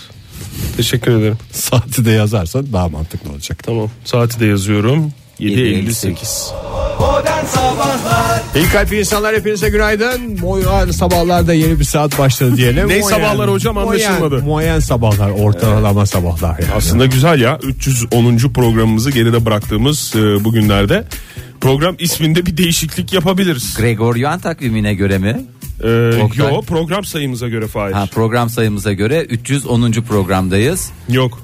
Speaker 6: Teşekkür ederim.
Speaker 3: Saati de yazarsan daha mantıklı olacak.
Speaker 6: Tamam. Saati de yazıyorum.
Speaker 4: 7.58.
Speaker 6: 7.58.
Speaker 2: Modern Sabahlar
Speaker 3: İyi kalp insanlar hepinize günaydın. Moyan sabahlarda yeni bir saat başladı diyelim.
Speaker 6: Ne
Speaker 3: Moyen-
Speaker 6: sabahlar hocam, anlaşılmadı.
Speaker 3: Moyen, moyen sabahlar ortalama sabahlar yani.
Speaker 6: Aslında güzel ya. 310. programımızı geride bıraktığımız e, bugünlerde program isminde bir değişiklik yapabiliriz.
Speaker 4: Gregorian takvimine göre mi?
Speaker 6: E,
Speaker 4: Oktay.
Speaker 6: yo program sayımıza göre Fahir.
Speaker 4: Ha, program sayımıza göre 310. programdayız.
Speaker 6: Yok.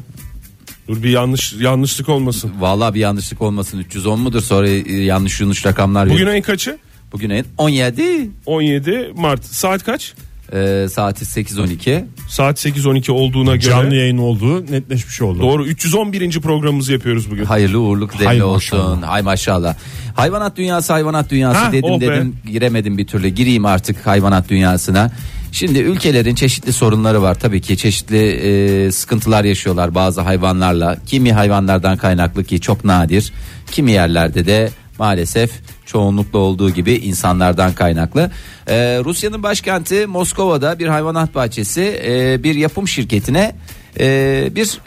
Speaker 6: Dur bir yanlış yanlışlık olmasın.
Speaker 4: Vallahi bir yanlışlık olmasın 310 mudur sonra e, yanlış yanlış rakamlar
Speaker 6: Bugün
Speaker 4: verir.
Speaker 6: ayın kaçı?
Speaker 4: Bugün ayın 17
Speaker 6: 17 Mart. Saat kaç?
Speaker 4: Ee, saati 8.12
Speaker 6: Saat 8.12 olduğuna göre.
Speaker 3: Canlı yayın olduğu netleşmiş oldu.
Speaker 6: Doğru 311. programımızı yapıyoruz bugün.
Speaker 4: hayırlı uğurlu kıdemli
Speaker 3: Hay
Speaker 4: olsun
Speaker 3: maşallah.
Speaker 4: hay maşallah hayvanat dünyası hayvanat dünyası
Speaker 6: Ha,
Speaker 4: dedim
Speaker 6: oh be.
Speaker 4: dedim giremedim bir türlü gireyim artık hayvanat dünyasına şimdi ülkelerin çeşitli sorunları var tabii ki çeşitli e, sıkıntılar yaşıyorlar bazı hayvanlarla kimi hayvanlardan kaynaklı ki çok nadir kimi yerlerde de maalesef çoğunlukla olduğu gibi insanlardan kaynaklı. Ee, Rusya'nın başkenti Moskova'da bir hayvanat bahçesi e, bir yapım şirketine e, bir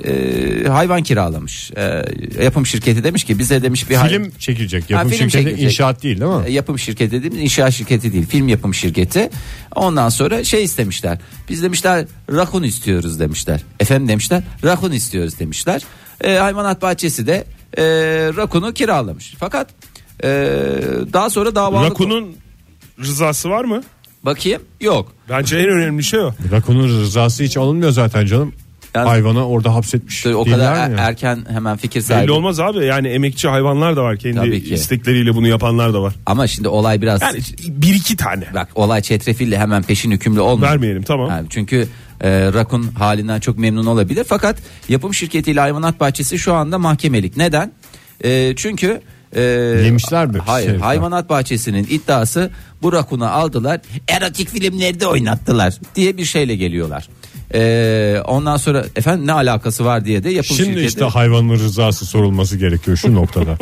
Speaker 4: e, hayvan kiralamış. E, yapım şirketi demiş ki bize demiş bir hay-
Speaker 3: Film çekilecek. Yapım
Speaker 4: film
Speaker 3: şirketi
Speaker 4: çekilecek.
Speaker 3: inşaat değil değil mi?
Speaker 4: E, yapım şirketi dediğimiz inşaat şirketi değil film yapım şirketi. Ondan sonra şey istemişler. Biz demişler rakun istiyoruz demişler. Efendim demişler rakun istiyoruz demişler. E, hayvanat bahçesi de e, rakunu kiralamış. Fakat e, daha sonra davalık
Speaker 6: Rakun'un rızası var mı?
Speaker 4: bakayım yok.
Speaker 6: Bence en önemli şey o.
Speaker 3: Rakunun rızası hiç alınmıyor zaten canım.
Speaker 4: Yani-
Speaker 3: Hayvana orada hapsetmiş.
Speaker 4: O
Speaker 3: değiller
Speaker 4: kadar
Speaker 3: mi?
Speaker 4: er- erken hemen fikir
Speaker 6: Belli
Speaker 4: sahibi.
Speaker 6: olmaz abi yani emekçi hayvanlar da var kendi
Speaker 4: Tabii ki.
Speaker 6: istekleriyle bunu yapanlar da var.
Speaker 4: Ama şimdi olay biraz
Speaker 6: Yani bir iki tane.
Speaker 4: bak olay çetrefilli hemen peşin hükümlü olmuyor.
Speaker 6: Vermeyelim, tamam.
Speaker 4: Yani çünkü e, Rakun halinden çok memnun olabilir. Fakat yapım şirketiyle hayvanat bahçesi şu anda mahkemelik. Neden? E, çünkü e,
Speaker 3: Yemişler mi?
Speaker 4: Hayır.
Speaker 3: Herifler.
Speaker 4: Hayvanat bahçesinin iddiası bu Rakun'u aldılar. Erotik filmlerde oynattılar diye bir şeyle geliyorlar. E, ondan sonra efendim ne alakası var diye de yapım
Speaker 3: Şimdi
Speaker 4: şirketi.
Speaker 3: işte hayvanın rızası sorulması gerekiyor şu noktada.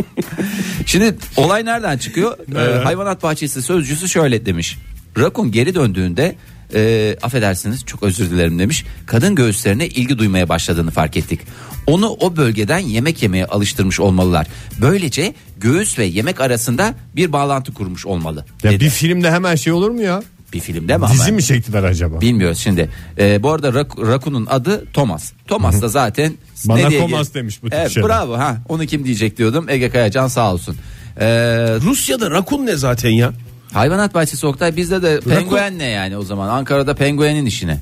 Speaker 4: Şimdi olay nereden çıkıyor? Ee, hayvanat bahçesi sözcüsü şöyle demiş. Rakun geri döndüğünde e, affedersiniz çok özür dilerim demiş. Kadın göğüslerine ilgi duymaya başladığını fark ettik. Onu o bölgeden yemek yemeye alıştırmış olmalılar. Böylece göğüs ve yemek arasında bir bağlantı kurmuş olmalı.
Speaker 3: ya
Speaker 4: dedi.
Speaker 3: bir filmde hemen şey olur mu ya?
Speaker 4: bir filmde mi
Speaker 3: Dizi
Speaker 4: ama?
Speaker 3: mi çektiler acaba?
Speaker 4: Bilmiyoruz şimdi. Ee, bu arada Rak- Rakun'un adı Thomas. Thomas da zaten
Speaker 3: Bana
Speaker 4: diye
Speaker 3: Thomas
Speaker 4: gel-
Speaker 3: demiş bu tip
Speaker 4: Evet,
Speaker 3: şeyler.
Speaker 4: bravo ha. Onu kim diyecek diyordum. Ege Kayacan sağ olsun. Ee,
Speaker 6: Rusya'da rakun ne zaten ya?
Speaker 4: Hayvanat bahçesi Oktay bizde de penguen ne yani o zaman Ankara'da penguenin işine.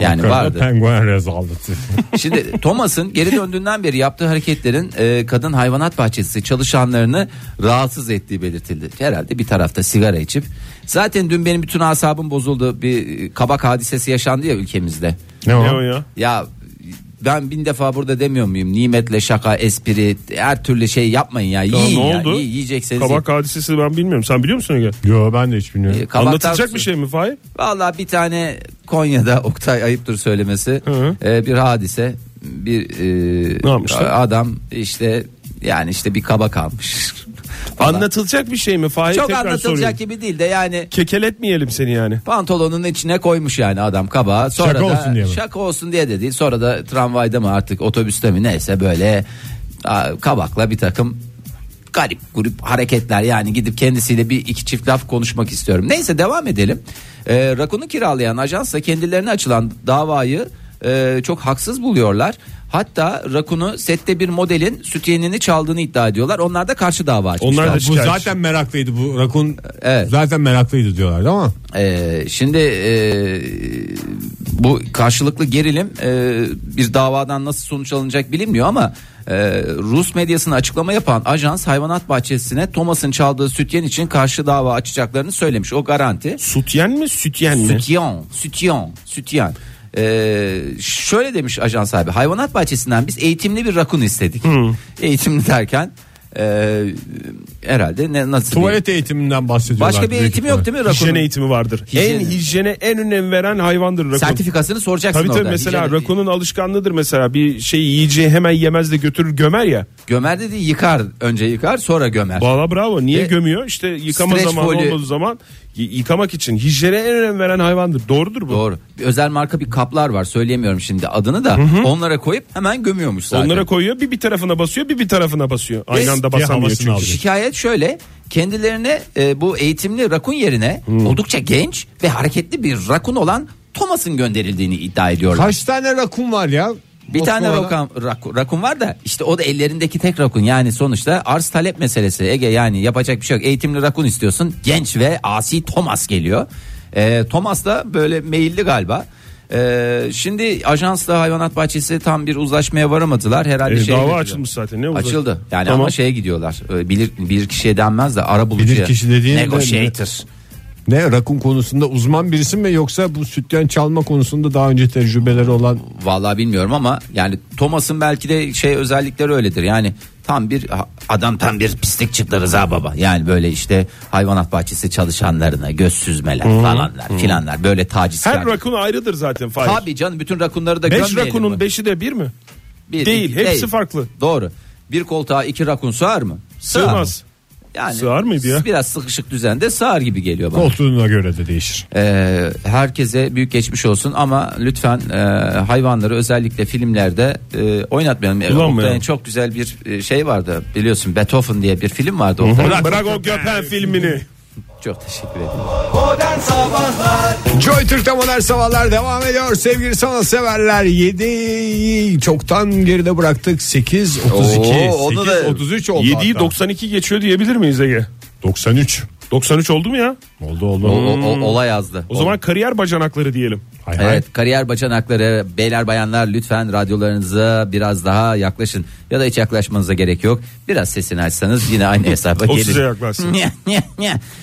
Speaker 4: Yani vardı.
Speaker 3: Penguen rezaleti.
Speaker 4: Şimdi Thomas'ın geri döndüğünden beri yaptığı hareketlerin e, kadın hayvanat bahçesi çalışanlarını rahatsız ettiği belirtildi. Herhalde bir tarafta sigara içip. Zaten dün benim bütün asabım bozuldu. Bir e, kabak hadisesi yaşandı ya ülkemizde.
Speaker 3: ne o?
Speaker 6: Ne o ya?
Speaker 4: Ya ben bin defa burada demiyor muyum? Nimetle şaka, espri, her türlü şey yapmayın ya.
Speaker 6: Ya
Speaker 4: Yiyin
Speaker 6: ne
Speaker 4: ya.
Speaker 6: oldu?
Speaker 4: Yi- yiyecekseniz.
Speaker 6: Kabak hadisesi ben bilmiyorum. Sen biliyor musun Ege?
Speaker 3: Yo ben de hiç bilmiyorum.
Speaker 4: yiyin. E, kabaktan
Speaker 6: Anlatılacak bir
Speaker 4: su-
Speaker 6: şey mi Fahir?
Speaker 4: Vallahi bir tane Konya'da Oktay ayıptır söylemesi
Speaker 6: hı.
Speaker 4: e, bir hadise bir e,
Speaker 6: Ne yapmışlar?
Speaker 4: adam işte yani işte bir kaba kalmış. falan.
Speaker 6: Anlatılacak bir şey mi Fahir?
Speaker 4: Çok
Speaker 6: Tekrar
Speaker 4: anlatılacak
Speaker 6: soruyorum.
Speaker 4: gibi değil de yani
Speaker 6: Kekeletmeyelim seni yani.
Speaker 4: pantolonun içine koymuş yani adam kabağı. Sonra
Speaker 3: Şaka
Speaker 4: da,
Speaker 3: olsun diye mi?
Speaker 4: Şaka olsun diye de değil. Sonra da tramvayda mı artık otobüste mi neyse böyle a, kabakla bir takım garip grup hareketler yani gidip kendisiyle bir iki çift laf konuşmak istiyorum. Neyse devam edelim. Ee, Rakun'u kiralayan ajansla kendilerine açılan davayı e, çok haksız buluyorlar. Hatta Rakun'u sette bir modelin sütyenini çaldığını iddia ediyorlar. Onlar da karşı dava açmışlar.
Speaker 6: Onlar da
Speaker 3: Bu
Speaker 6: şikayetçi.
Speaker 3: zaten meraklıydı bu rakun
Speaker 4: Evet.
Speaker 3: zaten meraklıydı diyorlardı ama
Speaker 4: Ee, şimdi e, bu karşılıklı gerilim e, bir davadan nasıl sonuç alınacak bilinmiyor ama e, Rus medyasına açıklama yapan ajans hayvanat bahçesine Thomas'ın çaldığı sütyen için karşı dava açacaklarını söylemiş. O garanti.
Speaker 6: Sütyen mi sütyen mi?
Speaker 4: Sütyen, sütyen, sütyen. Ee, şöyle demiş ajan sahibi hayvanat bahçesinden biz eğitimli bir rakun istedik. Eğitimli derken e, herhalde ne, nasıl bir-
Speaker 3: tuvalet eğitiminden bahsediyorlar.
Speaker 4: Başka bir
Speaker 3: büyük
Speaker 4: eğitimi yok
Speaker 3: ihtimalle.
Speaker 4: değil mi
Speaker 6: Hijyen
Speaker 4: rakunun?
Speaker 6: eğitimi vardır.
Speaker 4: Hijyen-
Speaker 6: En hijyene en önem veren hayvandır rakun.
Speaker 4: Sertifikasını soracaksın
Speaker 6: Tabii tabii
Speaker 4: orada.
Speaker 6: mesela
Speaker 4: Hijyen-
Speaker 6: rakunun alışkanlığıdır mesela bir şey yiyeceği hemen yemez de götürür gömer ya.
Speaker 4: Gömer dedi yıkar. Önce yıkar sonra gömer.
Speaker 6: Valla bravo niye
Speaker 4: Ve
Speaker 6: gömüyor işte yıkama
Speaker 4: streç
Speaker 6: zamanı
Speaker 4: folyo-
Speaker 6: olmadığı zaman y- yıkamak için hijyene en önem veren hayvandır. Doğrudur bu.
Speaker 4: Doğru. Bir özel marka bir kaplar var. Söyleyemiyorum şimdi adını da. Onlara koyup hemen gömüyormuş zaten.
Speaker 6: Onlara koyuyor bir bir tarafına basıyor bir bir tarafına basıyor. Aynı anda
Speaker 3: diye
Speaker 6: basamıyor
Speaker 3: havasını
Speaker 6: çünkü.
Speaker 3: alıyor.
Speaker 4: Şikayet şöyle. Kendilerine e, bu eğitimli rakun yerine oldukça genç ve hareketli bir rakun olan Thomas'ın gönderildiğini iddia ediyorlar.
Speaker 3: Kaç tane rakun var ya?
Speaker 4: Bir tane
Speaker 3: Moskova'da?
Speaker 4: rakun, rakun, rakun var da işte o da ellerindeki tek rakun yani sonuçta arz talep meselesi Ege yani yapacak bir şey yok eğitimli rakun istiyorsun genç ve asi Thomas geliyor ee, Thomas da böyle meyilli galiba Ee, şimdi ajansla hayvanat bahçesi tam bir uzlaşmaya varamadılar herhalde
Speaker 6: E,
Speaker 4: şeye
Speaker 6: dava
Speaker 4: götürüyor.
Speaker 6: açılmış zaten ne uzak-
Speaker 4: Şey açıldı yani
Speaker 6: Tamam.
Speaker 4: ama şeye gidiyorlar Ee, bilir bilir kişiye denmez de ara bulucuya
Speaker 3: Bilir kişi dediğin de-
Speaker 4: negotiator
Speaker 3: Ne rakun konusunda uzman birisi mi yoksa bu sütten çalma konusunda daha önce tecrübeleri olan
Speaker 4: Vallahi bilmiyorum ama yani Thomas'ın belki de şey özellikleri öyledir. Yani tam bir adam tam bir pislik çıktı Rıza Baba. Yani böyle işte hayvanat bahçesi çalışanlarına göz süzmeler falanlar filanlar böyle tacizkar.
Speaker 6: Her rakun ayrıdır zaten Fahir.
Speaker 4: Tabii canım bütün rakunları da
Speaker 6: Beş
Speaker 4: gömmeyelim
Speaker 6: rakunun
Speaker 4: mi?
Speaker 6: beşi de bir mi?
Speaker 4: Bir,
Speaker 6: değil,
Speaker 4: iki,
Speaker 6: hepsi farklı.
Speaker 4: Doğru. Bir koltuğa iki rakun sığar mı? Sığar.
Speaker 6: Sığmaz.
Speaker 4: Yani
Speaker 6: Sığar mıydı ya?
Speaker 4: Biraz sıkışık düzende sığar gibi geliyor bana.
Speaker 3: Koltuğuna göre de değişir.
Speaker 4: Ee, herkese büyük geçmiş olsun ama lütfen e, hayvanları özellikle filmlerde e, oynatmayalım. E,
Speaker 6: Kullanmayalım.
Speaker 4: Oktay'ın çok güzel bir e, şey vardı biliyorsun Beethoven diye bir film vardı. Oktay.
Speaker 6: Bırak, bırak o göpen filmini.
Speaker 4: Çok teşekkür ederim.
Speaker 2: Modern Sabahlar
Speaker 3: Joy Türk'te modern sabahlar devam ediyor. Sevgili sanatseverler 7'yi çoktan geride bıraktık. 8, 32,
Speaker 8: Oo, onu
Speaker 3: 8,
Speaker 8: da-
Speaker 3: 33 oldu
Speaker 6: 7'yi
Speaker 3: hatta.
Speaker 6: 92 geçiyor diyebilir miyiz Ege?
Speaker 3: 93.
Speaker 6: 93 oldu mu ya?
Speaker 3: Oldu oldu.
Speaker 4: O, o- o- olay azdı.
Speaker 6: O zaman kariyer bacanakları diyelim.
Speaker 3: Hay hay.
Speaker 4: Evet kariyer bacanakları beyler bayanlar lütfen radyolarınıza biraz daha yaklaşın ya da hiç yaklaşmanıza gerek yok. Biraz sesini açsanız yine aynı hesaba
Speaker 6: O
Speaker 4: gelir.
Speaker 6: size yaklaşsın.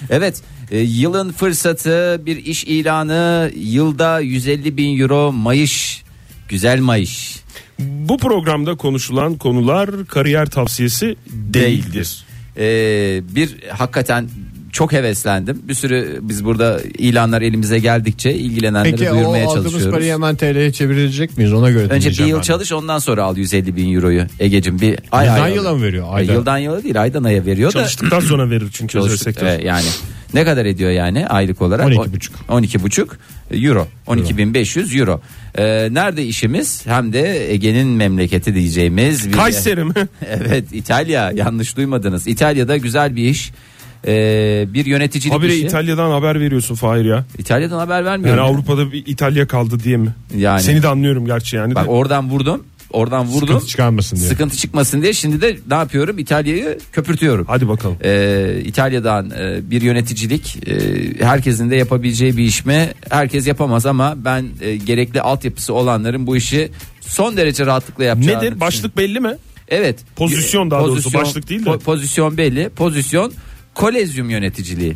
Speaker 4: evet e, yılın fırsatı bir iş ilanı yılda 150 bin euro mayış güzel mayış.
Speaker 6: Bu programda konuşulan konular kariyer tavsiyesi değildir.
Speaker 4: Ee, bir hakikaten çok heveslendim. Bir sürü biz burada ilanlar elimize geldikçe ilgilenenleri
Speaker 3: Peki o
Speaker 4: duyurmaya
Speaker 3: aldığımız
Speaker 4: çalışıyoruz.
Speaker 3: parayı hemen TL'ye çevirecek miyiz? Ona göre
Speaker 4: Önce bir
Speaker 3: dinleyeceğim
Speaker 4: yıl
Speaker 3: ben.
Speaker 4: çalış ondan sonra al 150 bin euroyu Ege'cim bir ay
Speaker 3: Yıldan
Speaker 4: ay al.
Speaker 3: yıla mı veriyor?
Speaker 4: E,
Speaker 3: Ayda.
Speaker 4: Yıldan yıla değil aydan aya veriyor da
Speaker 6: Çalıştıktan sonra verir çünkü özel
Speaker 4: Çalıştık,
Speaker 6: sektör.
Speaker 4: e, yani ne kadar ediyor yani aylık olarak
Speaker 3: 12,5.
Speaker 4: O- 12,5 euro 12.500 euro Ee, nerede işimiz hem de Ege'nin memleketi diyeceğimiz bir
Speaker 6: Kayseri mi?
Speaker 4: evet İtalya yanlış duymadınız İtalya'da güzel bir iş Ee, bir yöneticilik
Speaker 6: Habire
Speaker 4: işi
Speaker 6: İtalya'dan haber veriyorsun Fahir ya.
Speaker 4: İtalya'dan haber
Speaker 6: Yani
Speaker 4: vermiyorum
Speaker 6: Avrupa'da bir İtalya kaldı diye mi?
Speaker 4: Yani.
Speaker 6: Seni de anlıyorum gerçi yani.
Speaker 4: bak
Speaker 6: de.
Speaker 4: oradan vurdum oradan vurdum
Speaker 3: Sıkıntı çıkarmasın diye.
Speaker 4: sıkıntı çıkmasın diye şimdi de ne yapıyorum İtalya'yı köpürtüyorum
Speaker 6: Hadi bakalım.
Speaker 4: Ee, İtalya'dan e, bir yöneticilik e, herkesin de yapabileceği bir iş mi? Herkes yapamaz ama ben e, gerekli altyapısı olanların bu işi son derece rahatlıkla yapacağını
Speaker 6: Nedir?
Speaker 4: düşünüyorum.
Speaker 6: Başlık belli mi?
Speaker 4: Evet.
Speaker 6: Pozisyon daha doğrusu, başlık değil de.
Speaker 4: po- Pozisyon belli. Pozisyon kolezyum yöneticiliği.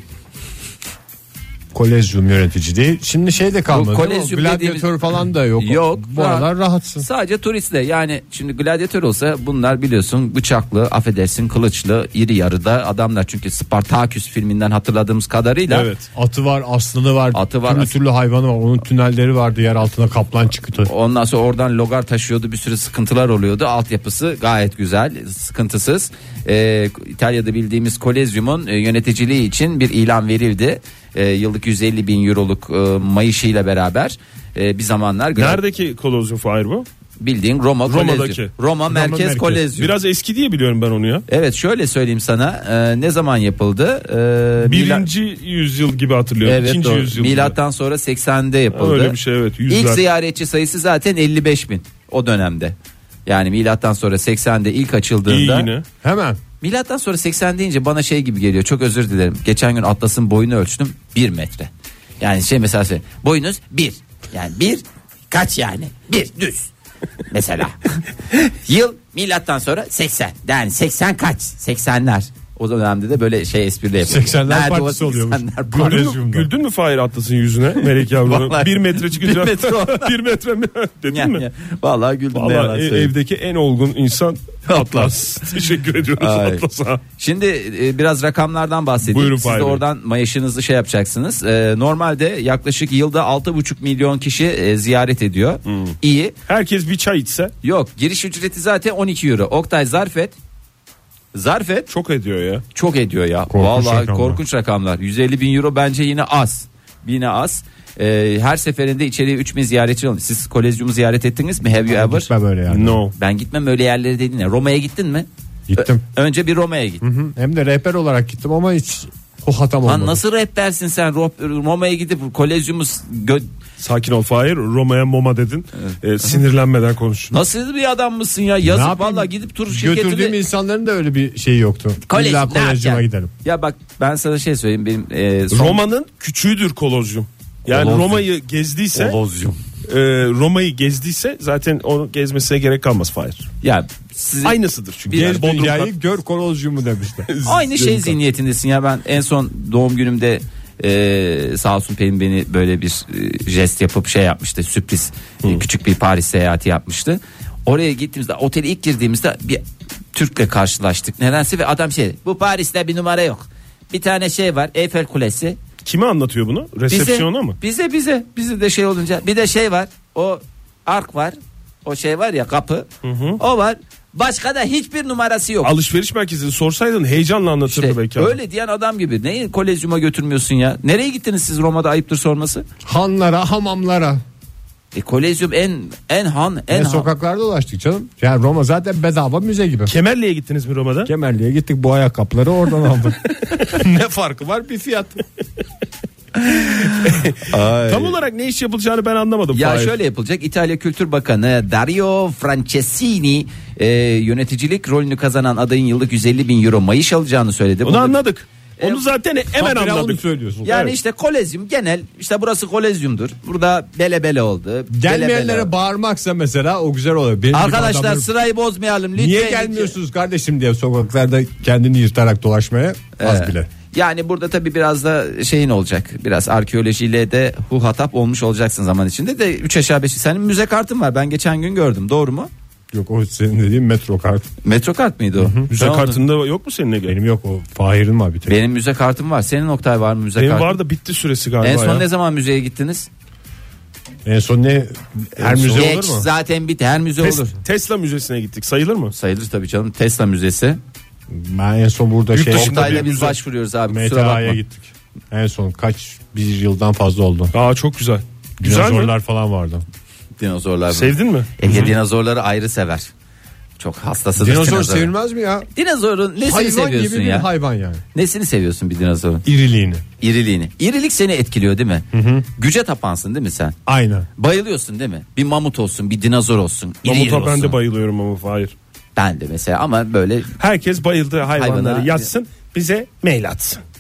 Speaker 3: Kolezyum yöneticiliği. Şimdi şey de kalmadı.
Speaker 4: Bu
Speaker 3: değil mi?
Speaker 4: kolezyum
Speaker 3: Gladyatör
Speaker 4: dediğimiz-
Speaker 3: falan da yok.
Speaker 4: Yok.
Speaker 3: Bu aralar
Speaker 4: rahat.
Speaker 3: rahatsın.
Speaker 4: Sadece turistle yani şimdi gladyatör olsa bunlar biliyorsun bıçaklı, affedersin kılıçlı, iri yarıda adamlar. Çünkü Spartaküs filminden hatırladığımız kadarıyla
Speaker 6: Evet.
Speaker 3: Atı var, aslanı var,
Speaker 4: Atı var,
Speaker 3: türlü
Speaker 4: aslan-
Speaker 3: türlü hayvanı var. Onun tünelleri vardı yer altına kaplan çıktı.
Speaker 4: Ondan sonra oradan logar taşıyordu bir sürü sıkıntılar oluyordu. Altyapısı gayet güzel sıkıntısız. Ee, İtalya'da bildiğimiz kolezyumun e, yöneticiliği için bir ilan verildi. Ee, yıllık 150 bin euroluk e, mayışıyla beraber e, bir zamanlar gla-
Speaker 6: Neredeki kolozyon Fahir bu?
Speaker 4: bildiğin Roma
Speaker 6: Roma'daki.
Speaker 4: kolezyum. Roma merkez,
Speaker 3: merkez.
Speaker 4: kolezyum.
Speaker 6: Biraz eski diye biliyorum ben onu ya.
Speaker 4: Evet şöyle söyleyeyim sana e, ne zaman yapıldı? E, Mila-
Speaker 6: Birinci yüzyıl gibi hatırlıyorum.
Speaker 4: Evet,
Speaker 6: İkinci
Speaker 4: doğru.
Speaker 6: yüzyıl. gibi.
Speaker 4: Milattan sonra 80'de yapıldı.
Speaker 6: Öyle bir şey, evet, yüzler.
Speaker 4: İlk ziyaretçi sayısı zaten 55 bin o dönemde. Yani milattan sonra 80'de ilk
Speaker 6: İyi
Speaker 4: açıldığında.
Speaker 6: yine.
Speaker 3: Hemen.
Speaker 4: Milattan sonra 80 deyince bana şey gibi geliyor. Çok özür dilerim. Geçen gün Atlas'ın boyunu ölçtüm 1 metre. Yani şey mesela şey, boyunuz 1. Yani 1 kaç yani? 1 düz. mesela. Yıl milattan sonra 80. Yani 80 kaç? 80'ler. O dönemde de böyle şey espriyle yapıyor.
Speaker 3: 80'ler partisi oluyormuş.
Speaker 4: Partisi.
Speaker 6: Güldün mü, güldün mü Fahir Atlas'ın yüzüne Melek yavrunun?
Speaker 4: Vallahi-
Speaker 6: bir metre çıkınca.
Speaker 4: Bir metre.
Speaker 6: bir metre mi? Dedin
Speaker 4: Ya,
Speaker 6: mi?
Speaker 4: ya. Vallahi güldüm ne yalan
Speaker 6: Vallahi e-
Speaker 4: söyleyeyim.
Speaker 6: evdeki en olgun insan Atlas. Teşekkür ediyoruz
Speaker 4: Ay.
Speaker 6: Atlas'a.
Speaker 4: Şimdi e, biraz rakamlardan bahsedeyim.
Speaker 6: Buyurun
Speaker 4: Siz de
Speaker 6: Fahri Bey.
Speaker 4: oradan mayışınızı şey yapacaksınız. E, normalde yaklaşık yılda 6,5 milyon kişi e, ziyaret ediyor.
Speaker 3: Hmm.
Speaker 4: İyi.
Speaker 6: Herkes bir çay içse
Speaker 4: Yok giriş ücreti zaten 12 euro. Oktay zarfet. Zarfet
Speaker 6: çok ediyor ya.
Speaker 4: çok ediyor ya.
Speaker 3: Korkunç
Speaker 4: Vallahi
Speaker 3: rakamlar.
Speaker 4: korkunç rakamlar. 150 bin euro bence yine az. Yine az. E, her seferinde içeriye 3 bin ziyaretçi alın. Siz kolezyumu ziyaret ettiniz mi? Have you ever?
Speaker 3: Gitme böyle yani.
Speaker 6: No.
Speaker 4: Ben gitmem öyle yerlere dedin ya. Roma'ya gittin mi?
Speaker 3: Gittim.
Speaker 4: Ö- önce bir Roma'ya git.
Speaker 3: Hı, Hem de rehber olarak gittim ama hiç hohatam olmadı.
Speaker 4: Lan nasıl rehbersin sen Ro- Roma'ya gidip kolezyumu s- gö-
Speaker 6: Sakin ol Fahir. Roma'ya moma dedin. E, sinirlenmeden konuş.
Speaker 4: Nasıl bir adam mısın ya?
Speaker 3: Ne
Speaker 4: Yazık
Speaker 3: yapayım?
Speaker 4: valla gidip tur
Speaker 3: Götürdüğüm
Speaker 4: şirketini
Speaker 3: insanların da öyle bir şeyi yoktu.
Speaker 4: Kolej-
Speaker 3: İlla
Speaker 4: ne yapacaksın?
Speaker 3: kolejime gidelim.
Speaker 4: Ya bak ben sana şey söyleyeyim benim e, son-
Speaker 6: Roma'nın küçüğüdür Kolozyum. Yani Roma'yı gezdiyse e, Roma'yı gezdiyse zaten onu gezmesine gerek kalmaz Fahir.
Speaker 4: ya sizin
Speaker 6: Aynısıdır çünkü.
Speaker 4: Bir-
Speaker 6: Yani
Speaker 3: Gez
Speaker 6: Bodrum'da-
Speaker 3: dünyayı gör kolozyumu demişler.
Speaker 4: aynı şey zihniyetindesin ya ben en son doğum günümde e, sağ olsun Pelin beni böyle bir e, jest yapıp şey yapmıştı sürpriz e, küçük bir Paris seyahati yapmıştı. Oraya gittiğimizde otele ilk girdiğimizde bir Türk'le karşılaştık nedense ve adam şey bu Paris'te bir numara yok. Bir tane şey var Eiffel Kulesi
Speaker 6: Kime anlatıyor bunu? Resepsiyona mı?
Speaker 4: Bize bize bize de şey olunca bir de şey var. O ark var. O şey var ya kapı. O var. Başka da hiçbir numarası yok.
Speaker 6: Alışveriş merkezini sorsaydın heyecanla anlatırdı
Speaker 4: İşte
Speaker 6: belki.
Speaker 4: öyle diyen adam gibi. Neyi kolezyuma götürmüyorsun ya? Nereye gittiniz siz Roma'da ayıptır sorması?
Speaker 3: Hanlara, hamamlara.
Speaker 4: E, kolezyum en en han en
Speaker 3: En
Speaker 4: han.
Speaker 3: sokaklarda dolaştık canım. Yani Roma zaten bedava müze gibi.
Speaker 6: Kemerli'ye gittiniz mi Roma'da?
Speaker 3: Kemerli'ye gittik bu ayakkabıları oradan aldık. ne farkı var bir fiyat.
Speaker 6: Tam olarak ne iş yapılacağını ben anlamadım.
Speaker 4: Ya
Speaker 6: Fahir.
Speaker 4: şöyle yapılacak. İtalya Kültür Bakanı Dario Franceschini e, yöneticilik rolünü kazanan adayın yıllık 150 bin euro maaş alacağını söyledi.
Speaker 6: Onu
Speaker 4: Bunu-
Speaker 6: anladık.
Speaker 4: E,
Speaker 6: Onu zaten hemen
Speaker 3: Habire onu
Speaker 6: anladık.
Speaker 3: söylüyorsun.
Speaker 4: Yani işte kolezyum genel işte burası kolezyumdur. Burada bele bele oldu. Bele bele.
Speaker 3: Gelmeyenlere bağırmaksa mesela o güzel oluyor. Benim gibi
Speaker 4: Arkadaşlar
Speaker 3: adamları-
Speaker 4: sırayı bozmayalım lütfen.
Speaker 3: niye gelmiyorsunuz kardeşim diye sokaklarda kendini yırtarak dolaşmaya az bile.
Speaker 4: Ee, Yani burada tabii biraz da şeyin olacak. Biraz arkeolojiyle de huhatap olmuş olacaksın zaman içinde de 3 aşağı 5 senin müze kartın var. Ben geçen gün gördüm. Doğru mu?
Speaker 3: Yok o senin dediğin metro kartı.
Speaker 4: Metro kart mıydı o?
Speaker 6: Müze
Speaker 4: Ben onu-
Speaker 6: kartında yok mu senin Ege?
Speaker 3: Benim yok o Fahir'in var bir tek.
Speaker 4: Benim müze kartım var. Senin Oktay var mı müze
Speaker 6: Benim
Speaker 4: kartın?
Speaker 6: var da bitti süresi galiba
Speaker 4: En son
Speaker 6: ya.
Speaker 4: ne zaman müzeye gittiniz?
Speaker 3: En son ne her müze
Speaker 4: Geç
Speaker 3: olur mu?
Speaker 4: zaten bit her müze
Speaker 6: Tes-
Speaker 4: olur.
Speaker 6: Tesla Müzesi'ne gittik sayılır mı?
Speaker 4: Sayılır tabii canım Tesla müzesi.
Speaker 3: Ben en son burada
Speaker 6: Yurt
Speaker 3: şey
Speaker 6: dışında
Speaker 4: Oktay'la
Speaker 6: bir
Speaker 4: biz
Speaker 6: müze.
Speaker 4: başvuruyoruz abi kusura
Speaker 3: MTA'ya
Speaker 4: bakma.
Speaker 3: gittik. En son kaç bir yıldan fazla oldu.
Speaker 6: Aa çok güzel. Güzel mi?
Speaker 3: Dinozorlar falan vardı.
Speaker 4: Dinozorlar. mı?
Speaker 6: Sevdin mi?
Speaker 4: Ege dinozorları ayrı sever. Çok hastasıdır
Speaker 3: Dinozor
Speaker 4: dinozorun.
Speaker 3: sevilmez mi ya?
Speaker 4: Dinozorun nesini
Speaker 3: Hayvan gibi
Speaker 4: seviyorsun
Speaker 3: bir
Speaker 4: ya?
Speaker 3: hayvan yani.
Speaker 4: Nesini seviyorsun bir dinozorun?
Speaker 3: İriliğini.
Speaker 4: İriliğini. İrilik seni etkiliyor değil mi? Güce tapansın değil mi sen?
Speaker 3: Aynen.
Speaker 4: Bayılıyorsun değil mi? Bir mamut olsun, bir dinozor olsun. iri iri
Speaker 6: Mamuta ben
Speaker 4: olsun.
Speaker 6: de bayılıyorum ama hayır.
Speaker 4: Ben de mesela ama böyle
Speaker 6: Herkes bayıldığı hayvanları
Speaker 4: Hayvana-
Speaker 6: yatsın bize mail atsın.